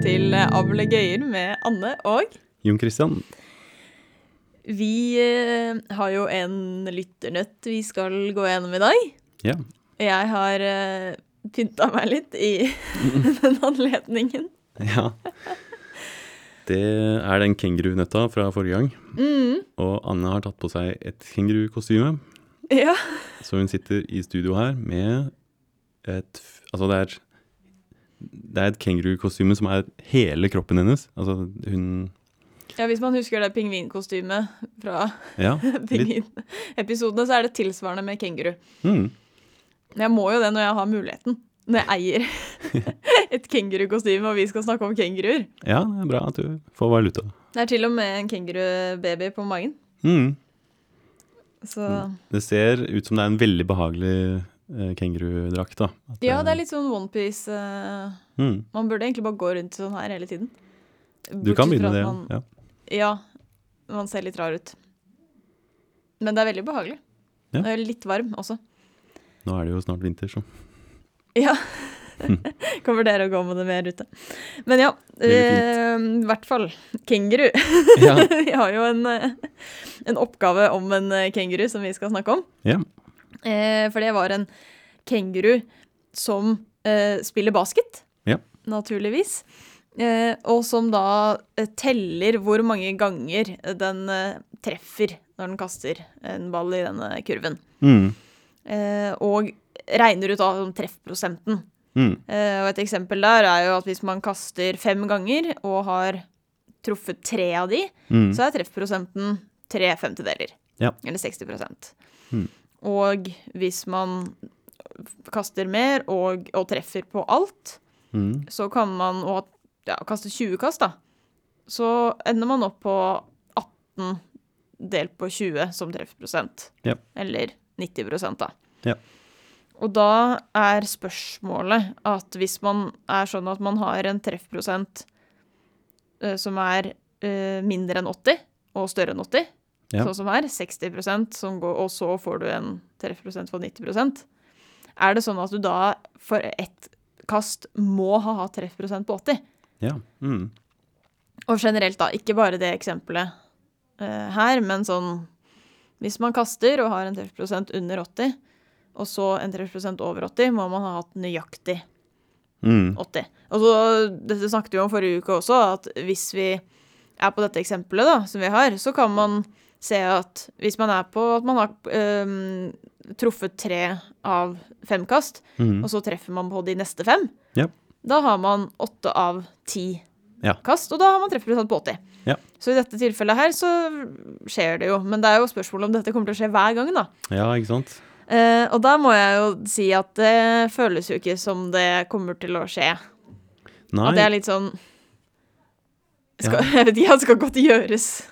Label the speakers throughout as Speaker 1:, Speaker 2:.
Speaker 1: Travle eh, gøyer med Anne og
Speaker 2: Jon Christian,
Speaker 1: Vi eh, har jo en lytternøtt vi skal gå gjennom i dag.
Speaker 2: ja.
Speaker 1: Jeg har eh, pynta meg litt i den anledningen.
Speaker 2: ja. Det er den kengurunøtta fra forrige gang.
Speaker 1: Mm.
Speaker 2: Og Anne har tatt på seg et kengurukostyme,
Speaker 1: Ja.
Speaker 2: så hun sitter i studio her med et f- Altså, det er, det er et kengurukostyme som er hele kroppen hennes. Altså, hun
Speaker 1: ja, hvis man husker det pingvinkostymet fra
Speaker 2: Ja. Litt,
Speaker 1: pingvinepisodene, så er det tilsvarende med kenguru.
Speaker 2: mm,
Speaker 1: Men jeg må jo det når jeg har muligheten. Når jeg eier et kengurukostyme, og vi skal snakke om kenguruer.
Speaker 2: ja, det er bra at du får valuta.
Speaker 1: Det er til og med en kengurubaby på magen.
Speaker 2: Mm.
Speaker 1: Så
Speaker 2: Det ser ut som det er en veldig behagelig eh, kengurudrakt, da. At
Speaker 1: Ja, det er litt sånn onepiece uh,
Speaker 2: mm.
Speaker 1: Man burde egentlig bare gå rundt sånn her hele tiden.
Speaker 2: Du kan
Speaker 1: Bortsett fra
Speaker 2: begynne
Speaker 1: at
Speaker 2: det,
Speaker 1: Man,
Speaker 2: ja.
Speaker 1: ja. Man ser litt rar ut. Men det er veldig behagelig.
Speaker 2: Ja.
Speaker 1: Og Litt varm også.
Speaker 2: Nå er det jo snart vinter, så
Speaker 1: Ja. kan vurdere å gå med det mer ute. Men ja, eh, i
Speaker 2: Veldig
Speaker 1: hvert fall kenguru.
Speaker 2: Ja.
Speaker 1: Vi har jo en, eh, en oppgave om en eh, kenguru som vi skal snakke om.
Speaker 2: ja.
Speaker 1: Eh, for det var en kenguru som eh, spiller basket,
Speaker 2: Ja.
Speaker 1: naturligvis. Eh, og som da eh, teller hvor mange ganger den eh, treffer når den kaster en ball i denne kurven.
Speaker 2: Mm.
Speaker 1: Eh, og regner ut da om treffprosenten.
Speaker 2: Mm.
Speaker 1: Eh, og et eksempel der er jo at hvis man kaster fem ganger og har truffet tre av de,
Speaker 2: Mm.
Speaker 1: så er treffprosenten tre femtedeler.
Speaker 2: Ja.
Speaker 1: Eller 60
Speaker 2: Mm.
Speaker 1: Og hvis man kaster mer og, og treffer på alt,
Speaker 2: Mm.
Speaker 1: så kan man og, ja, kaste 20 kast, da. Så ender man opp på 18 delt på 20 som treffprosent.
Speaker 2: Ja.
Speaker 1: Eller 90 da.
Speaker 2: Ja.
Speaker 1: Og da er spørsmålet at hvis man er sånn at man har en treffprosent eh, som er eh, mindre enn 80, og større enn 80,
Speaker 2: Ja.
Speaker 1: sånn som her, 60 som går, og så får du en treffprosent på 90 Er det sånn at du da for ett kast må ha hatt treffprosent på 80?
Speaker 2: Ja. Mm.
Speaker 1: Og generelt, da. Ikke bare det eksempelet eh, her, men sånn Hvis man kaster og har en treffprosent under 80, og så en treffprosent over 80, må man ha hatt nøyaktig
Speaker 2: Mm.
Speaker 1: 80. Og så, Dette snakket vi om forrige uke også, at hvis vi er på dette eksempelet da, som vi har, så kan man se at hvis man er på at man har øhm, truffet tre av fem kast,
Speaker 2: Mm.
Speaker 1: og så treffer man på de neste fem,
Speaker 2: Ja.
Speaker 1: da har man åtte av ti
Speaker 2: Ja.
Speaker 1: kast, og da har man treffprosent på 80.
Speaker 2: Ja.
Speaker 1: Så i dette tilfellet her så skjer det jo, men det er jo spørsmål om dette kommer til å skje hver gang, da.
Speaker 2: ja, ikke sant?
Speaker 1: Eh, og da må jeg jo si at det føles jo ikke som det kommer til å skje.
Speaker 2: Nei,
Speaker 1: At det er litt sånn
Speaker 2: Ja.
Speaker 1: skal, Jeg vet ikke, det skal godt gjøres.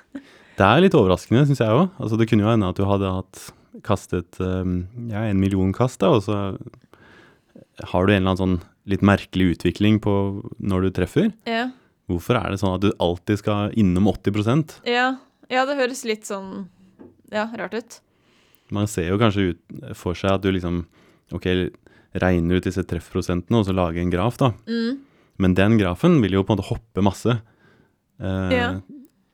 Speaker 2: litt overraskende, syns jeg òg. Altså, det kunne jo hende at du hadde hatt kastet um, ja, en million kast, da, og så har du en eller annen sånn litt merkelig utvikling på når du treffer.
Speaker 1: Ja.
Speaker 2: Hvorfor er det sånn at du alltid skal innom 80
Speaker 1: ja. Ja, det høres litt sånn Ja, rart ut.
Speaker 2: Man ser jo kanskje ut for seg at du liksom Ok, regner ut disse treffprosentene og så lager en graf, da.
Speaker 1: Mm.
Speaker 2: Men den grafen vil jo på en måte hoppe masse. Eh,
Speaker 1: Ja.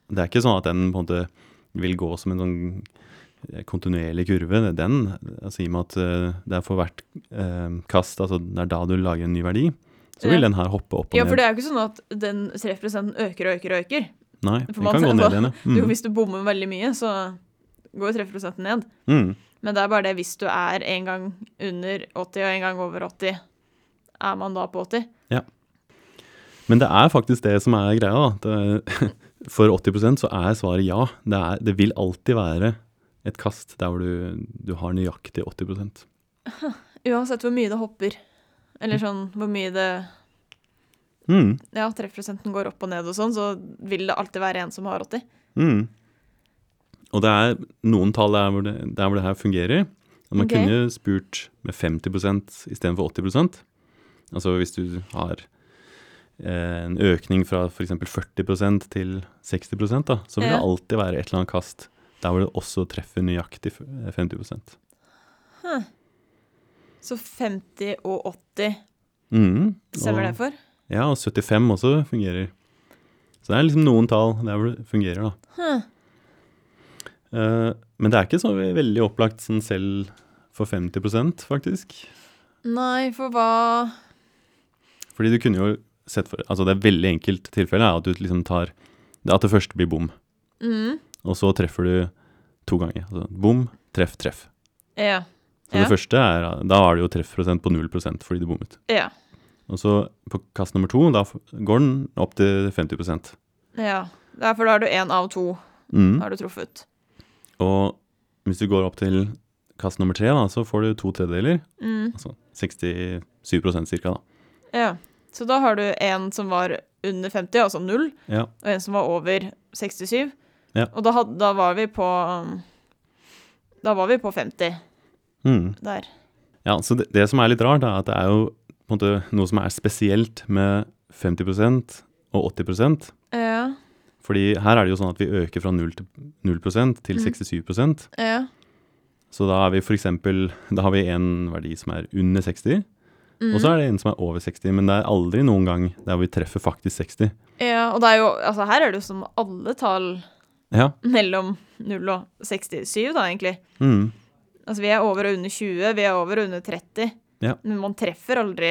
Speaker 2: Det er ikke sånn at den på en måte vil gå som en sånn kontinuerlig kurve. Den altså i og med at eh, det er for hvert eh, kast, altså det er da du lager en ny verdi, så vil
Speaker 1: Ja.
Speaker 2: den her hoppe opp og
Speaker 1: Ja, for
Speaker 2: ned.
Speaker 1: det er jo ikke sånn at den treffprosenten øker og øker og øker.
Speaker 2: Nei,
Speaker 1: for
Speaker 2: den
Speaker 1: man
Speaker 2: kan
Speaker 1: ser
Speaker 2: gå
Speaker 1: på-
Speaker 2: ned igjen, ja.
Speaker 1: Jo,
Speaker 2: Mm.
Speaker 1: hvis du bommer veldig mye, så går jo treffprosenten ned.
Speaker 2: Mm.
Speaker 1: Men det er bare det hvis du er en gang under 80 og en gang over 80, er man da på 80?
Speaker 2: Men det er faktisk det som er greia, da. Det, for 80 så er svaret ja. Det, er, det vil alltid være et kast der hvor du, du har nøyaktig 80
Speaker 1: Uansett hvor mye det hopper. Eller sånn hvor mye det
Speaker 2: mm,
Speaker 1: Ja, treffprosenten går opp og ned og sånn, så vil det alltid være en som har 80.
Speaker 2: mm. Og det er noen tall der hvor det, der hvor det her fungerer. Og man
Speaker 1: Ok.
Speaker 2: kunne spurt med 50 istedenfor 80 Altså hvis du har eh, en økning fra f.eks. 40 til 60 da, så vil
Speaker 1: Ja.
Speaker 2: det alltid være et eller annet kast der hvor det også treffer nøyaktig eh, 50
Speaker 1: Så 50 og 80
Speaker 2: Mm,
Speaker 1: stemmer
Speaker 2: og-
Speaker 1: det for?
Speaker 2: Ja, og 75 også fungerer. Så det er liksom noen tall der hvor det fungerer, da.
Speaker 1: Hm.
Speaker 2: Eh, men det er ikke så veldig opplagt sånn selv for 50 faktisk.
Speaker 1: Nei, for hva
Speaker 2: Fordi du kunne jo sett for Altså, det er veldig enkelt tilfelle er at du liksom tar At det første blir bom,
Speaker 1: mm.
Speaker 2: og så treffer du to ganger. Altså, bom, treff, treff.
Speaker 1: Ja.
Speaker 2: Så
Speaker 1: Ja.
Speaker 2: det første er Da har du jo treffprosent på 0 fordi du bommet.
Speaker 1: Ja.
Speaker 2: Og så på kast nummer to, da f- går den opp til 50
Speaker 1: ja. Det er for da har du én av to
Speaker 2: mm.
Speaker 1: har du truffet.
Speaker 2: Og hvis du går opp til kast nummer tre, da, så får du to tredjedeler.
Speaker 1: Mm.
Speaker 2: Altså 67 cirka, da.
Speaker 1: Ja. Så da har du en som var under 50, altså null,
Speaker 2: Ja.
Speaker 1: og en som var over 67.
Speaker 2: Ja.
Speaker 1: Og da, had, da var vi på um, Da var vi på 50
Speaker 2: Mm.
Speaker 1: der.
Speaker 2: Ja, så det, det som er litt rart, er at det er jo på en måte noe som er spesielt med 50 og 80
Speaker 1: Ja.
Speaker 2: Fordi her er det jo sånn at vi øker fra 0 til 0 til 67
Speaker 1: Ja.
Speaker 2: Så da er vi for eksempel, da har vi en verdi som er under 60, og så er det en som er over 60, men det er aldri noen gang der vi treffer faktisk 60.
Speaker 1: ja. Og det er jo Altså, her er det jo som alle tall
Speaker 2: Ja.
Speaker 1: mellom 0 og 67, da, egentlig.
Speaker 2: Mm.
Speaker 1: Altså, vi er over og under 20, vi er over og under 30.
Speaker 2: Ja.
Speaker 1: Men man treffer aldri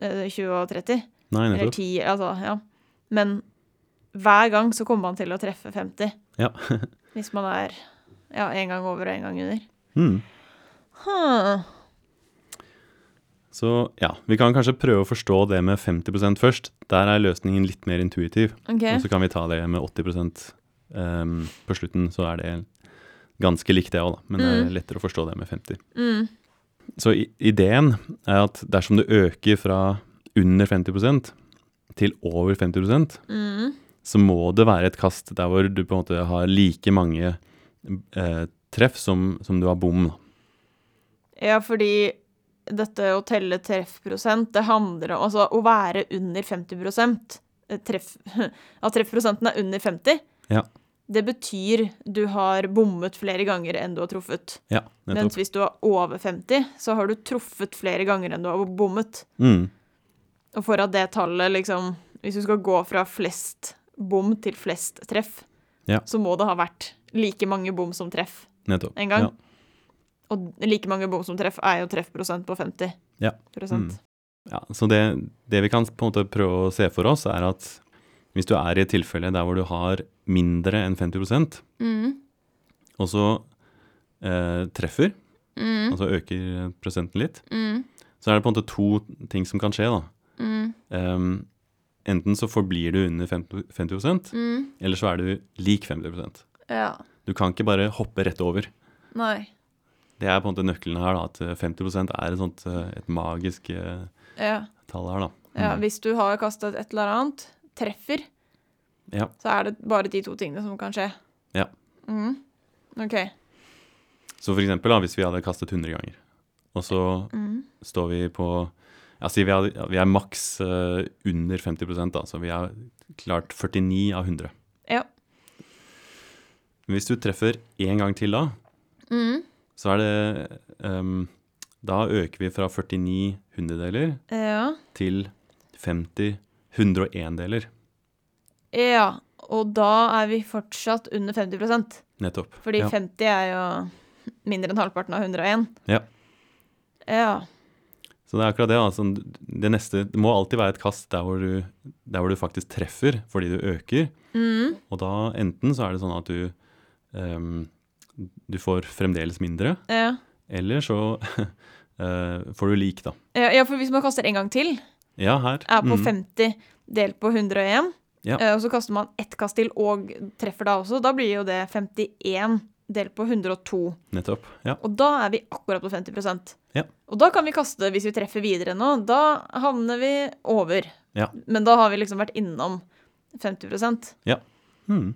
Speaker 1: eh, 20 og 30.
Speaker 2: Nei,
Speaker 1: Eller
Speaker 2: nettopp.
Speaker 1: 10, altså. Ja. Men hver gang så kommer man til å treffe 50.
Speaker 2: Ja.
Speaker 1: Hvis man er ja, en gang over og en gang under.
Speaker 2: Mm.
Speaker 1: Huh.
Speaker 2: Så ja, vi kan kanskje prøve å forstå det med 50 først. Der er løsningen litt mer intuitiv.
Speaker 1: OK.
Speaker 2: Og så kan vi ta det med 80 um, på slutten, så er det ganske likt det òg, da. Men det er lettere å forstå det med 50.
Speaker 1: Mm.
Speaker 2: Så i, ideen er at dersom du øker fra under 50 til over 50
Speaker 1: Mm.
Speaker 2: så må det være et kast der hvor du på en måte har like mange eh, treff som, som du har bom. da.
Speaker 1: Ja, fordi dette å telle treffprosent, det handler om Altså, å være under 50 eh, treff, At treffprosenten er under 50,
Speaker 2: Ja.
Speaker 1: det betyr du har bommet flere ganger enn du har truffet.
Speaker 2: Ja, nettopp.
Speaker 1: Mens hvis du er over 50, så har du truffet flere ganger enn du har bommet.
Speaker 2: Mm,
Speaker 1: Og for at det tallet liksom Hvis du skal gå fra flest bom til flest treff,
Speaker 2: Ja.
Speaker 1: så må det ha vært like mange bom som treff
Speaker 2: nettopp.
Speaker 1: en gang.
Speaker 2: Ja.
Speaker 1: Og like mange bom som treff er jo treffprosent på 50
Speaker 2: Ja.
Speaker 1: prosent.
Speaker 2: Ja, så det, det vi kan på en måte prøve å se for oss, er at hvis du er i et tilfelle der hvor du har mindre enn 50
Speaker 1: Mm.
Speaker 2: og så eh, treffer,
Speaker 1: Mm.
Speaker 2: altså øker prosenten litt, så er det på en måte to ting som kan skje. da.
Speaker 1: mm,
Speaker 2: Ehm, enten så forblir du under 50, 50 eller så er du lik 50
Speaker 1: mm. Ja.
Speaker 2: Du kan ikke bare hoppe rett over.
Speaker 1: Nei. Det
Speaker 2: Det er på en måte nøkkelen her, da, at eh, 50 er et, sånt, eh, et magisk eh,
Speaker 1: Ja.
Speaker 2: tall her. da.
Speaker 1: ja.
Speaker 2: Mm.
Speaker 1: Hvis du har kastet et eller annet, treffer,
Speaker 2: Ja.
Speaker 1: så er det bare de to tingene som kan skje.
Speaker 2: Ja.
Speaker 1: Mhm. OK.
Speaker 2: Så for eksempel da, hvis vi hadde kastet 100 ganger, og så
Speaker 1: Mhm.
Speaker 2: står vi på ja, si vi, hadde, vi er maks eh, under 50 da, så vi har klart 49 av 100.
Speaker 1: Ja.
Speaker 2: Men hvis du treffer én gang til da,
Speaker 1: Mhm.
Speaker 2: så er det ehm, Da øker vi fra 49 hundredeler
Speaker 1: Ja.
Speaker 2: til 50 101-deler.
Speaker 1: ja. Og da er vi fortsatt under 50
Speaker 2: Nettopp.
Speaker 1: Fordi
Speaker 2: ja.
Speaker 1: 50 er jo mindre enn halvparten av 101.
Speaker 2: Ja.
Speaker 1: Ja.
Speaker 2: Så det er akkurat det. Altså, det neste det må alltid være et kast der hvor, du, der hvor du faktisk treffer fordi du øker.
Speaker 1: Mhm.
Speaker 2: Og da enten så er det sånn at du ehm, du får fremdeles mindre,
Speaker 1: ja.
Speaker 2: eller så eh, får du lik, da.
Speaker 1: Ja, ja, for hvis man kaster en gang til,
Speaker 2: Ja, her.
Speaker 1: er på
Speaker 2: Mm.
Speaker 1: 50 delt på 101,
Speaker 2: Ja.
Speaker 1: eh, og så kaster man ett kast til og treffer da også, da blir jo det 51 delt på 102.
Speaker 2: Nettopp. Ja.
Speaker 1: Og da er vi akkurat på 50
Speaker 2: Ja.
Speaker 1: Og da kan vi kaste, hvis vi treffer videre nå, da havner vi over.
Speaker 2: Ja.
Speaker 1: Men da har vi liksom vært innom 50
Speaker 2: Mm.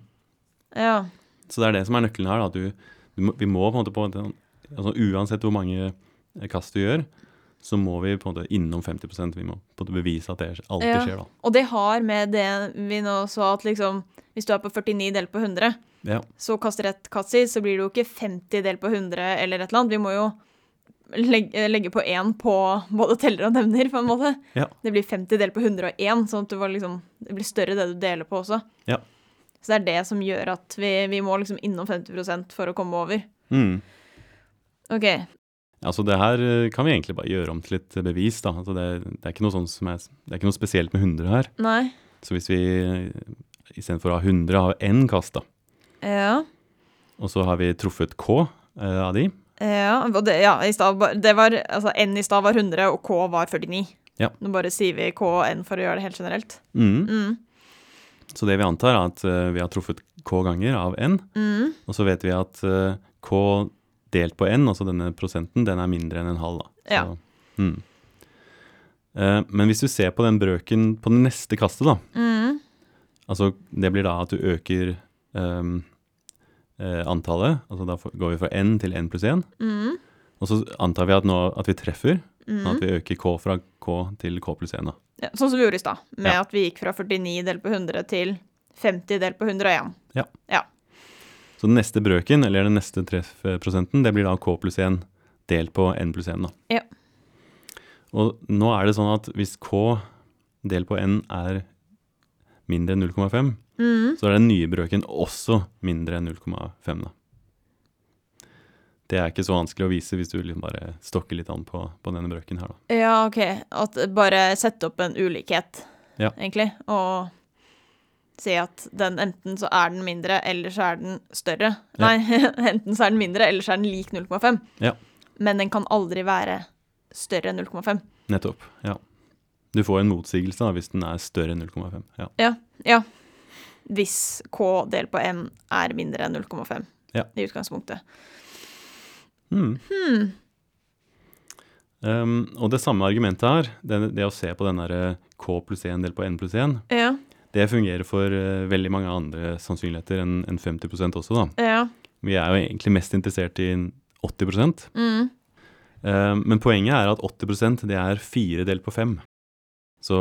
Speaker 1: Ja.
Speaker 2: Så det er det som er nøkkelen her. Da. at Du, du må, vi må på en måte på en- altså, Uansett hvor mange eh, kast du gjør, så må vi på en måte innom 50 Vi må på en måte bevise at det alltid
Speaker 1: Ja.
Speaker 2: skjer, da.
Speaker 1: Og det har med det vi nå sa, at liksom, hvis du er på 49 delt på 100,
Speaker 2: Ja.
Speaker 1: så kaster et katsi, så blir det jo ikke 50 delt på 100 eller et eller annet. Vi må jo legge, eh, legge på én på både teller og nevner, på en måte.
Speaker 2: Ja.
Speaker 1: Det blir 50 delt på 101, sånn at det, var liksom, det blir større det du deler på også.
Speaker 2: Ja.
Speaker 1: Så det er det som gjør at vi, vi må liksom innom 50 for å komme over.
Speaker 2: Mm.
Speaker 1: OK.
Speaker 2: Altså det her eh, kan vi egentlig bare gjøre om til et bevis, da. Altså det, det, er ikke noe sånt som er, det er ikke noe spesielt med 100 her.
Speaker 1: Nei.
Speaker 2: Så hvis vi eh, istedenfor å ha 100, har én kast, da,
Speaker 1: Ja.
Speaker 2: og så har vi truffet K eh, av de,
Speaker 1: Ja, og det, ja i stad ba- det var, altså, N i stad var 100, og K var 49.
Speaker 2: Ja.
Speaker 1: Nå bare sier vi K og N for å gjøre det helt generelt.
Speaker 2: mm.
Speaker 1: Mm.
Speaker 2: så det vi antar er at eh, vi har truffet K ganger av N,
Speaker 1: Mm.
Speaker 2: og så vet vi at eh, K delt på N, altså denne prosenten, den er mindre enn en halv, da. Så,
Speaker 1: Ja.
Speaker 2: Mm. Eh, men hvis du ser på den brøken på det neste kastet, da,
Speaker 1: Mm.
Speaker 2: Altså, det blir da at du øker ehm, eh, antallet, altså da får- går vi fra n til n pluss 1,
Speaker 1: Mm.
Speaker 2: og så antar vi at, nå, at vi treffer, sånn
Speaker 1: Mm.
Speaker 2: at vi øker k fra k til k pluss 1 da.
Speaker 1: Ja, sånn som vi gjorde i stad, med
Speaker 2: Ja.
Speaker 1: at vi gikk fra 49 delt på 100 til 50 delt på 101.
Speaker 2: Så den neste brøken, eller den neste treffprosenten, det blir da k pluss 1 delt på n pluss 1 da.
Speaker 1: Ja.
Speaker 2: Og nå er det sånn at hvis k delt på n er mindre enn 0,5,
Speaker 1: Mm.
Speaker 2: så er den nye brøken også mindre enn 0,5 da. Det er ikke så vanskelig å vise hvis du liksom bare stokker litt an på, på denne brøken her da.
Speaker 1: Ja, OK. At bare sette opp en ulikhet,
Speaker 2: Ja.
Speaker 1: egentlig, og si at den enten så er den mindre, eller så er den større.
Speaker 2: Ja.
Speaker 1: Nei, enten så er den mindre, eller så er den lik 0,5.
Speaker 2: Ja.
Speaker 1: Men den kan aldri være større enn 0,5.
Speaker 2: Nettopp, ja. Du får en motsigelse da hvis den er større enn 0,5. Ja.
Speaker 1: Ja. Hvis K delt på N er mindre enn 0,5
Speaker 2: Ja.
Speaker 1: i utgangspunktet.
Speaker 2: Mm.
Speaker 1: Hmm.
Speaker 2: Um, og det samme argumentet her, det, det å se på den der eh, k pluss 1 delt på n pluss 1,
Speaker 1: Ja.
Speaker 2: det fungerer for eh, veldig mange andre sannsynligheter enn enn 50 også da.
Speaker 1: Ja.
Speaker 2: Vi er jo egentlig mest interessert i 80
Speaker 1: Mm.
Speaker 2: Eh, Men poenget er at 80 det er 4 delt på 5. Så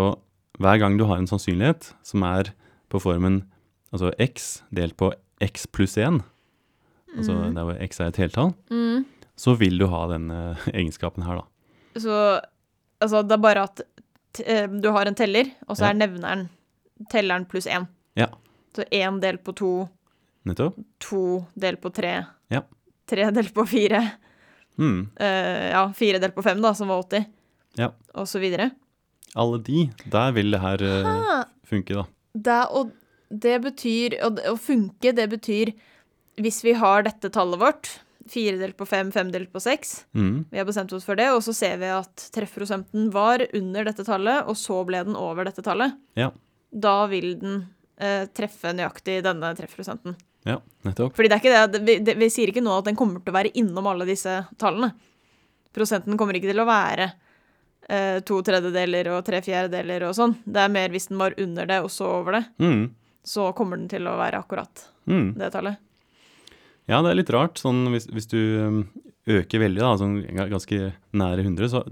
Speaker 2: hver gang du har en sannsynlighet som er på formen altså x delt på x pluss 1, altså
Speaker 1: Mm.
Speaker 2: der hvor x er et heltall,
Speaker 1: Mm.
Speaker 2: så vil du ha denne egenskapen her, da.
Speaker 1: Så altså, det er bare at t eh, du har en teller, og så
Speaker 2: Ja.
Speaker 1: er nevneren telleren pluss én.
Speaker 2: Ja.
Speaker 1: Så én del på to,
Speaker 2: Nettopp.
Speaker 1: to del på tre,
Speaker 2: Ja.
Speaker 1: tre del på fire,
Speaker 2: Mm.
Speaker 1: eh, ja, fire del på fem, da, som var 80,
Speaker 2: Ja.
Speaker 1: og så videre.
Speaker 2: Alle de, der vil det her eh,
Speaker 1: Ah,
Speaker 2: funke, da.
Speaker 1: det, og det betyr og det- Å funke, det betyr hvis vi har dette tallet vårt, fire delt på fem, fem delt på seks,
Speaker 2: Mm.
Speaker 1: Vi har bestemt oss for det, og så ser vi at treffprosenten var under dette tallet, og så ble den over dette tallet.
Speaker 2: Ja.
Speaker 1: Da vil den eh, treffe nøyaktig denne treffprosenten.
Speaker 2: Ja, nettopp.
Speaker 1: Fordi det er ikke det, at- vi, det, vi sier ikke nå at den kommer til å være innom alle disse tallene. Prosenten kommer ikke til å være eh, to tredjedeler og tre fjerdedeler og sånn. Det er mer hvis den var under det, og så over det,
Speaker 2: Mm.
Speaker 1: så kommer den til å være akkurat
Speaker 2: Mm.
Speaker 1: det tallet.
Speaker 2: Ja, det er litt rart. Sånn, hvis, hvis du øhm, øker veldig, da, sånn, ga- ganske nære 100, så,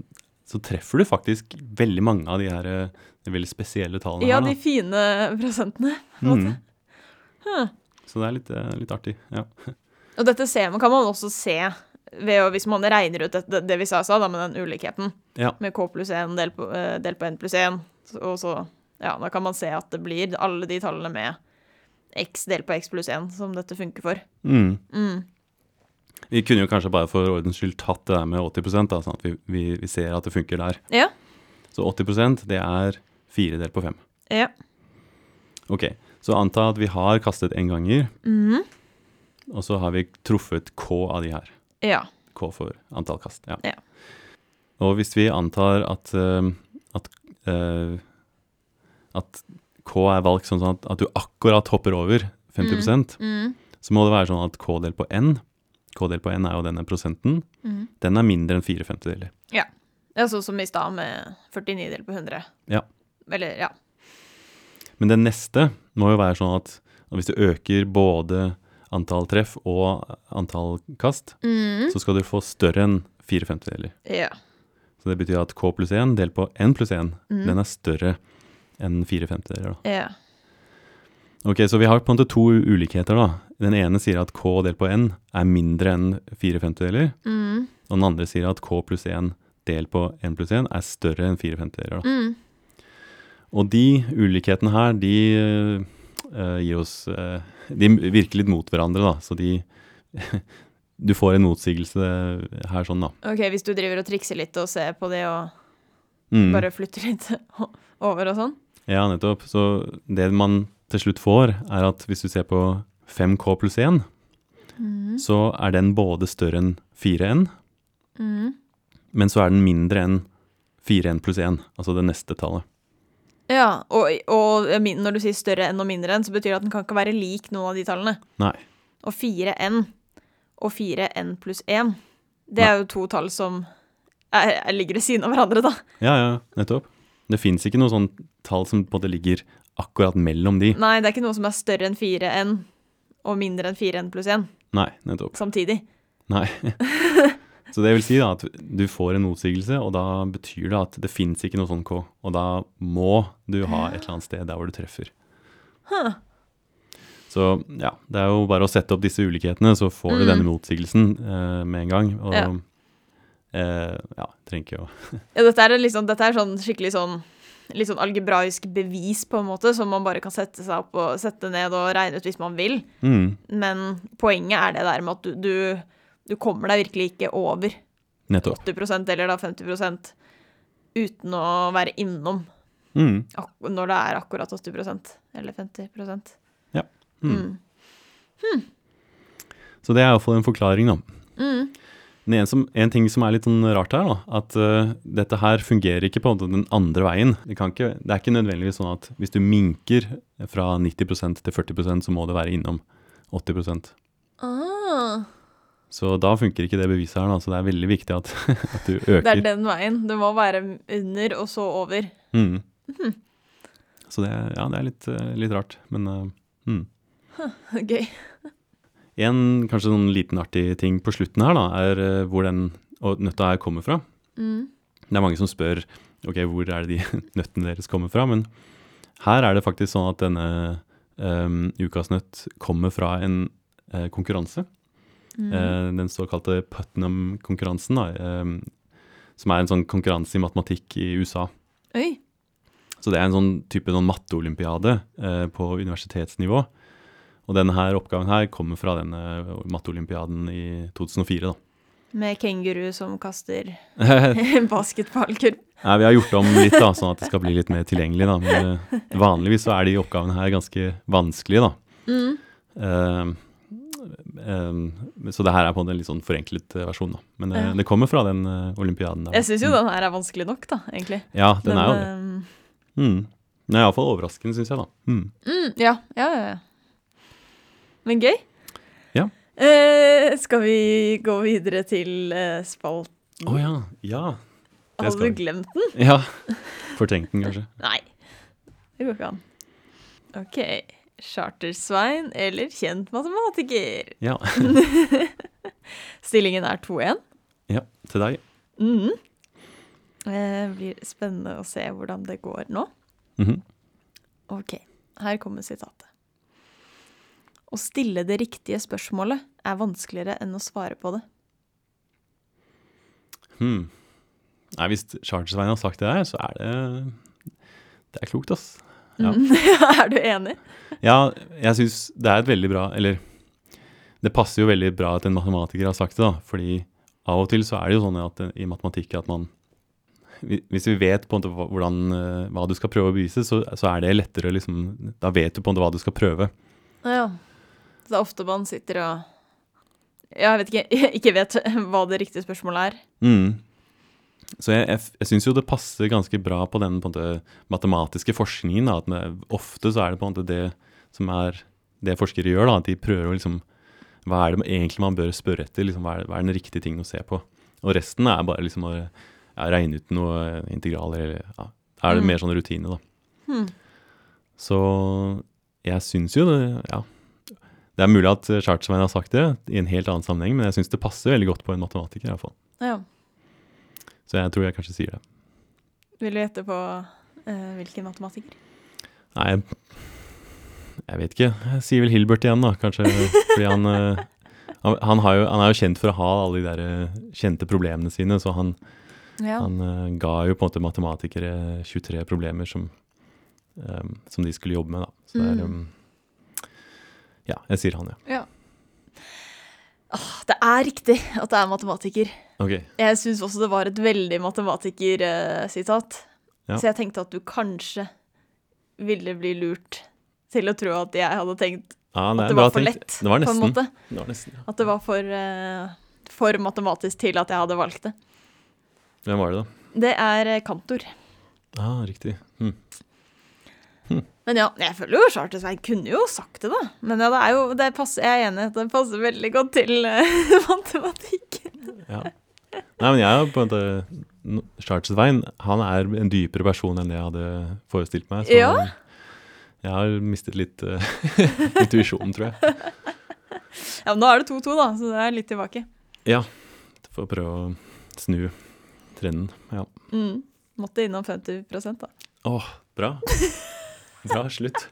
Speaker 2: så treffer du faktisk veldig mange av de her øh, de veldig spesielle tallene
Speaker 1: Ja,
Speaker 2: her.
Speaker 1: de
Speaker 2: da.
Speaker 1: fine prosentene.
Speaker 2: Mhm.
Speaker 1: Huh.
Speaker 2: Så det er litt, øh, litt artig. Ja.
Speaker 1: Og dette ser, man- kan man også se ved, å- hvis man regner ut det, det vi sa, i stad, da, med den ulikheten.
Speaker 2: Ja.
Speaker 1: Med K pluss 1 delt på, eh, delt på N pluss 1. Så- Og så ja, da kan man se at det blir alle de tallene med X delt på X pluss 1 som dette funker for.
Speaker 2: Mm.
Speaker 1: Mm.
Speaker 2: Vi kunne jo kanskje bare for ordens skyld tatt det der med 80 da, sånn at vi, vi, vi ser at det funker der.
Speaker 1: Ja.
Speaker 2: Så 80 det er fire delt på fem.
Speaker 1: Ja.
Speaker 2: Ok, så anta at vi har kastet én ganger,
Speaker 1: Mhm.
Speaker 2: og så har vi truffet K av de her.
Speaker 1: ja.
Speaker 2: K for antall kast. Ja.
Speaker 1: Ja.
Speaker 2: Og hvis vi antar at, eh, at, eh, at K er valgt sånn at, at du akkurat hopper over 50
Speaker 1: Mm.
Speaker 2: så må det være sånn at K del på N K del på N er jo denne prosenten.
Speaker 1: Mhm.
Speaker 2: Den er mindre enn fire femtedeler.
Speaker 1: ja sånn som i stad med 49 delt på 100.
Speaker 2: Ja.
Speaker 1: Eller, ja.
Speaker 2: Men den neste må jo være sånn at og hvis du øker både antall treff og antall kast,
Speaker 1: Mm.
Speaker 2: så skal du få større enn fire femtedeler.
Speaker 1: Ja.
Speaker 2: Så det betyr at K pluss 1 delt på N pluss 1,
Speaker 1: Mhm.
Speaker 2: den er større enn fire femtedeler. da.
Speaker 1: ja.
Speaker 2: Ok, så vi har på en måte to ulikheter da. Den ene sier at K delt på N er mindre enn fire femtedeler,
Speaker 1: Mm.
Speaker 2: og den andre sier at K pluss 1 delt på N pluss 1 er større enn fire femtedeler. Da.
Speaker 1: Mm.
Speaker 2: Og de ulikhetene her, de eh, gir oss eh, De virker litt mot hverandre, da. Så de Du får en motsigelse her sånn, da.
Speaker 1: OK, hvis du driver og trikser litt og ser på det og
Speaker 2: Mm.
Speaker 1: bare flytter litt over og sånn.
Speaker 2: Ja, nettopp. Så det man til slutt får, er at hvis du ser på 5K pluss 1,
Speaker 1: Mm.
Speaker 2: så er den både større enn 4N,
Speaker 1: Mm.
Speaker 2: men så er den mindre enn 4N pluss 1, altså det neste tallet.
Speaker 1: Ja, og, og min- når du sier større enn og mindre enn, så betyr det at den kan ikke være lik noen av de tallene.
Speaker 2: Nei.
Speaker 1: Og 4n og 4n pluss 1, det er jo to tall som er, er, ligger ved siden av hverandre, da.
Speaker 2: Ja, ja, nettopp. Det fins ikke noe sånn tall som på en måte ligger akkurat mellom de.
Speaker 1: Nei, det er ikke noe som er større enn 4n og mindre enn 4n pluss 1
Speaker 2: Nei, nettopp.
Speaker 1: samtidig.
Speaker 2: Nei. Så det vil si da at du får en motsigelse, og da betyr det at det fins ikke noe sånn K. Og da må du ha et eller annet sted der hvor du treffer. Så ja, det er jo bare å sette opp disse ulikhetene, så får du
Speaker 1: Mm.
Speaker 2: denne motsigelsen eh, med en gang. Og ja,
Speaker 1: Ja.
Speaker 2: eh, ja trenger ikke å
Speaker 1: Ja, dette er, liksom, dette er sånn skikkelig sånn Litt sånn algebraisk bevis, på en måte, som man bare kan sette seg opp og sette ned og regne ut hvis man vil.
Speaker 2: mm,
Speaker 1: Men poenget er det der med at du, du, du kommer deg virkelig ikke over
Speaker 2: Nettopp.
Speaker 1: 80 eller da 50 uten å være innom
Speaker 2: Mm,
Speaker 1: ak- når det er akkurat 80 eller 50
Speaker 2: mm.
Speaker 1: Mm.
Speaker 2: Så det er iallfall en forklaring, da.
Speaker 1: Mm.
Speaker 2: Men en, som, en ting som er litt sånn rart her, da, at eh, dette her fungerer ikke på en måte den andre veien. Det, kan ikke, det er ikke nødvendigvis sånn at hvis du minker fra 90 til 40 så må det være innom 80
Speaker 1: Ah,
Speaker 2: Så da funker ikke det beviset her, da, så det er veldig viktig at, at du
Speaker 1: Det er
Speaker 2: øker.
Speaker 1: den veien. Det må være under og så over.
Speaker 2: Mm. Så det, er- ja, det er litt, eh, litt rart, men eh, mm.
Speaker 1: Gøy.
Speaker 2: En kanskje sånn liten artig ting på slutten her, da, er eh, hvor den og nøtta her kommer fra.
Speaker 1: Mm.
Speaker 2: Det er mange som spør ok, hvor er det de nøttene deres kommer fra, men her er det faktisk sånn at denne um, ukas nøtt kommer fra en eh, konkurranse.
Speaker 1: Mm.
Speaker 2: Eh, den såkalte Putnam-konkurransen, da, em, som er en sånn konkurranse i matematikk i USA.
Speaker 1: Oi.
Speaker 2: Så det er en sånn type sånn matteolympiade eh, på universitetsnivå. Og denne her oppgaven her kommer fra denne matteolympiaden i 2004, da.
Speaker 1: Med kenguru som kaster
Speaker 2: Nei,
Speaker 1: basketballkurv.
Speaker 2: vi har gjort om litt, da, sånn at det skal bli litt mer tilgjengelig. Da. Men eh, vanligvis så er de oppgavene her ganske vanskelige, da.
Speaker 1: Mm.
Speaker 2: Eh, eh, så det her er på en måte en litt sånn forenklet eh, versjon, da. Men eh,
Speaker 1: Ja.
Speaker 2: det kommer fra den eh, olympiaden der.
Speaker 1: Jeg syns jo den her er vanskelig nok, da, egentlig.
Speaker 2: Ja, den er jo det.
Speaker 1: Men, eh,
Speaker 2: Mm. Den er iallfall overraskende, syns jeg, da. Mm.
Speaker 1: Mm, ja, ja, ja, ja. Men gøy.
Speaker 2: Ja.
Speaker 1: Eh, skal vi gå videre til eh, spalt?
Speaker 2: Å ja. Ja. det
Speaker 1: Hadde
Speaker 2: skal
Speaker 1: du glemt den?
Speaker 2: ja. Fortrengt den, kanskje.
Speaker 1: Nei. Det går ikke an. OK. Charter-Svein eller kjent matematiker?
Speaker 2: Ja.
Speaker 1: Stillingen er 2-1.
Speaker 2: ja. Til deg.
Speaker 1: Mm. Eh, blir spennende å se hvordan det går nå.
Speaker 2: Mhm.
Speaker 1: Ok, her kommer sitatet. Å stille det riktige spørsmålet er vanskeligere enn å svare på det.
Speaker 2: hmm. Nei, hvis Charter-Svein har sagt det der, så er det Det er klokt, ass. Ja.
Speaker 1: Mm. er du enig?
Speaker 2: Ja, jeg syns det er et veldig bra Eller det passer jo veldig bra at en matematiker har sagt det, da. Fordi av og til så er det jo sånn at eh, i matematikk at man hvi- Hvis vi vet på en måte hva- hvordan, eh, hva du skal prøve å bevise, så, så er det lettere liksom Da vet du på en måte hva du skal prøve.
Speaker 1: Ja. Så det er ofte man sitter og ja, jeg vet ikke, ikke vet hva det riktige spørsmålet er.
Speaker 2: Mm. Så jeg, jeg, f- jeg syns jo det passer ganske bra på den på en måte, matematiske forskningen. Da, at med, ofte så er det på en måte det som er det forskere gjør, da, at de prøver å liksom Hva er det man- egentlig man bør spørre etter? Liksom, hva, er, hva er den riktige tingen å se på? Og resten er bare liksom å ja, regne ut noe eh, integraler, eller ja, er det
Speaker 1: Mm.
Speaker 2: mer sånn rutine, da.
Speaker 1: Hmm.
Speaker 2: Så jeg syns jo det, ja. Det er mulig at eh, Chartsvein har sagt det i en helt annen sammenheng, men jeg syns det passer veldig godt på en matematiker, iallfall.
Speaker 1: Ja.
Speaker 2: Så jeg tror jeg kanskje sier det.
Speaker 1: Vil du gjette på eh, hvilken matematiker?
Speaker 2: Nei, Jeg vet ikke. Jeg sier vel Hilbert igjen, da, kanskje. Fordi han, eh, han, han, har jo, han er jo kjent for å ha alle de der eh, kjente problemene sine, så han,
Speaker 1: Ja.
Speaker 2: han eh, ga jo på en måte matematikere 23 problemer som, eh, som de skulle jobbe med, da. Så det er
Speaker 1: Mm.
Speaker 2: eh, Ja, jeg sier han, ja.
Speaker 1: Det er riktig at det er matematiker.
Speaker 2: Ok.
Speaker 1: Jeg syns også det var et veldig matematikersitat.
Speaker 2: Ja.
Speaker 1: Så jeg tenkte at du kanskje ville bli lurt til å tro at jeg hadde tenkt
Speaker 2: Ja,
Speaker 1: at
Speaker 2: nei,
Speaker 1: det
Speaker 2: bra
Speaker 1: var for
Speaker 2: tenkt.
Speaker 1: lett,
Speaker 2: Det var
Speaker 1: på en
Speaker 2: nesten.
Speaker 1: måte.
Speaker 2: Det var nesten. ja.
Speaker 1: At det var for, eh, for matematisk til at jeg hadde valgt det.
Speaker 2: Hvem var det, da?
Speaker 1: Det er eh, kantor.
Speaker 2: Ah, riktig. Hm.
Speaker 1: Men ja, jeg føler jo Charter Svein kunne jo sagt det, da. Men ja, det er jo, det passer, jeg er enig i at det passer veldig godt til eh, matematikk.
Speaker 2: Ja. Nei, men jeg er jo på en måte Chartsvein, han er en dypere person enn det jeg hadde forestilt meg. Så
Speaker 1: Ja.
Speaker 2: jeg har mistet litt eh, intuisjon, tror jeg.
Speaker 1: Ja, men nå er det 2-2, da, så det er litt tilbake.
Speaker 2: For å prøve å snu trenden. Ja.
Speaker 1: Mm. Måtte innom 50 da.
Speaker 2: Åh, bra. Bra slutt.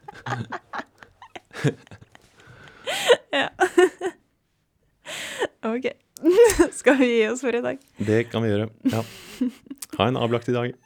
Speaker 1: OK. Skal vi gi oss for i dag?
Speaker 2: Det kan vi gjøre. Ja. Ha en avlagt i dag.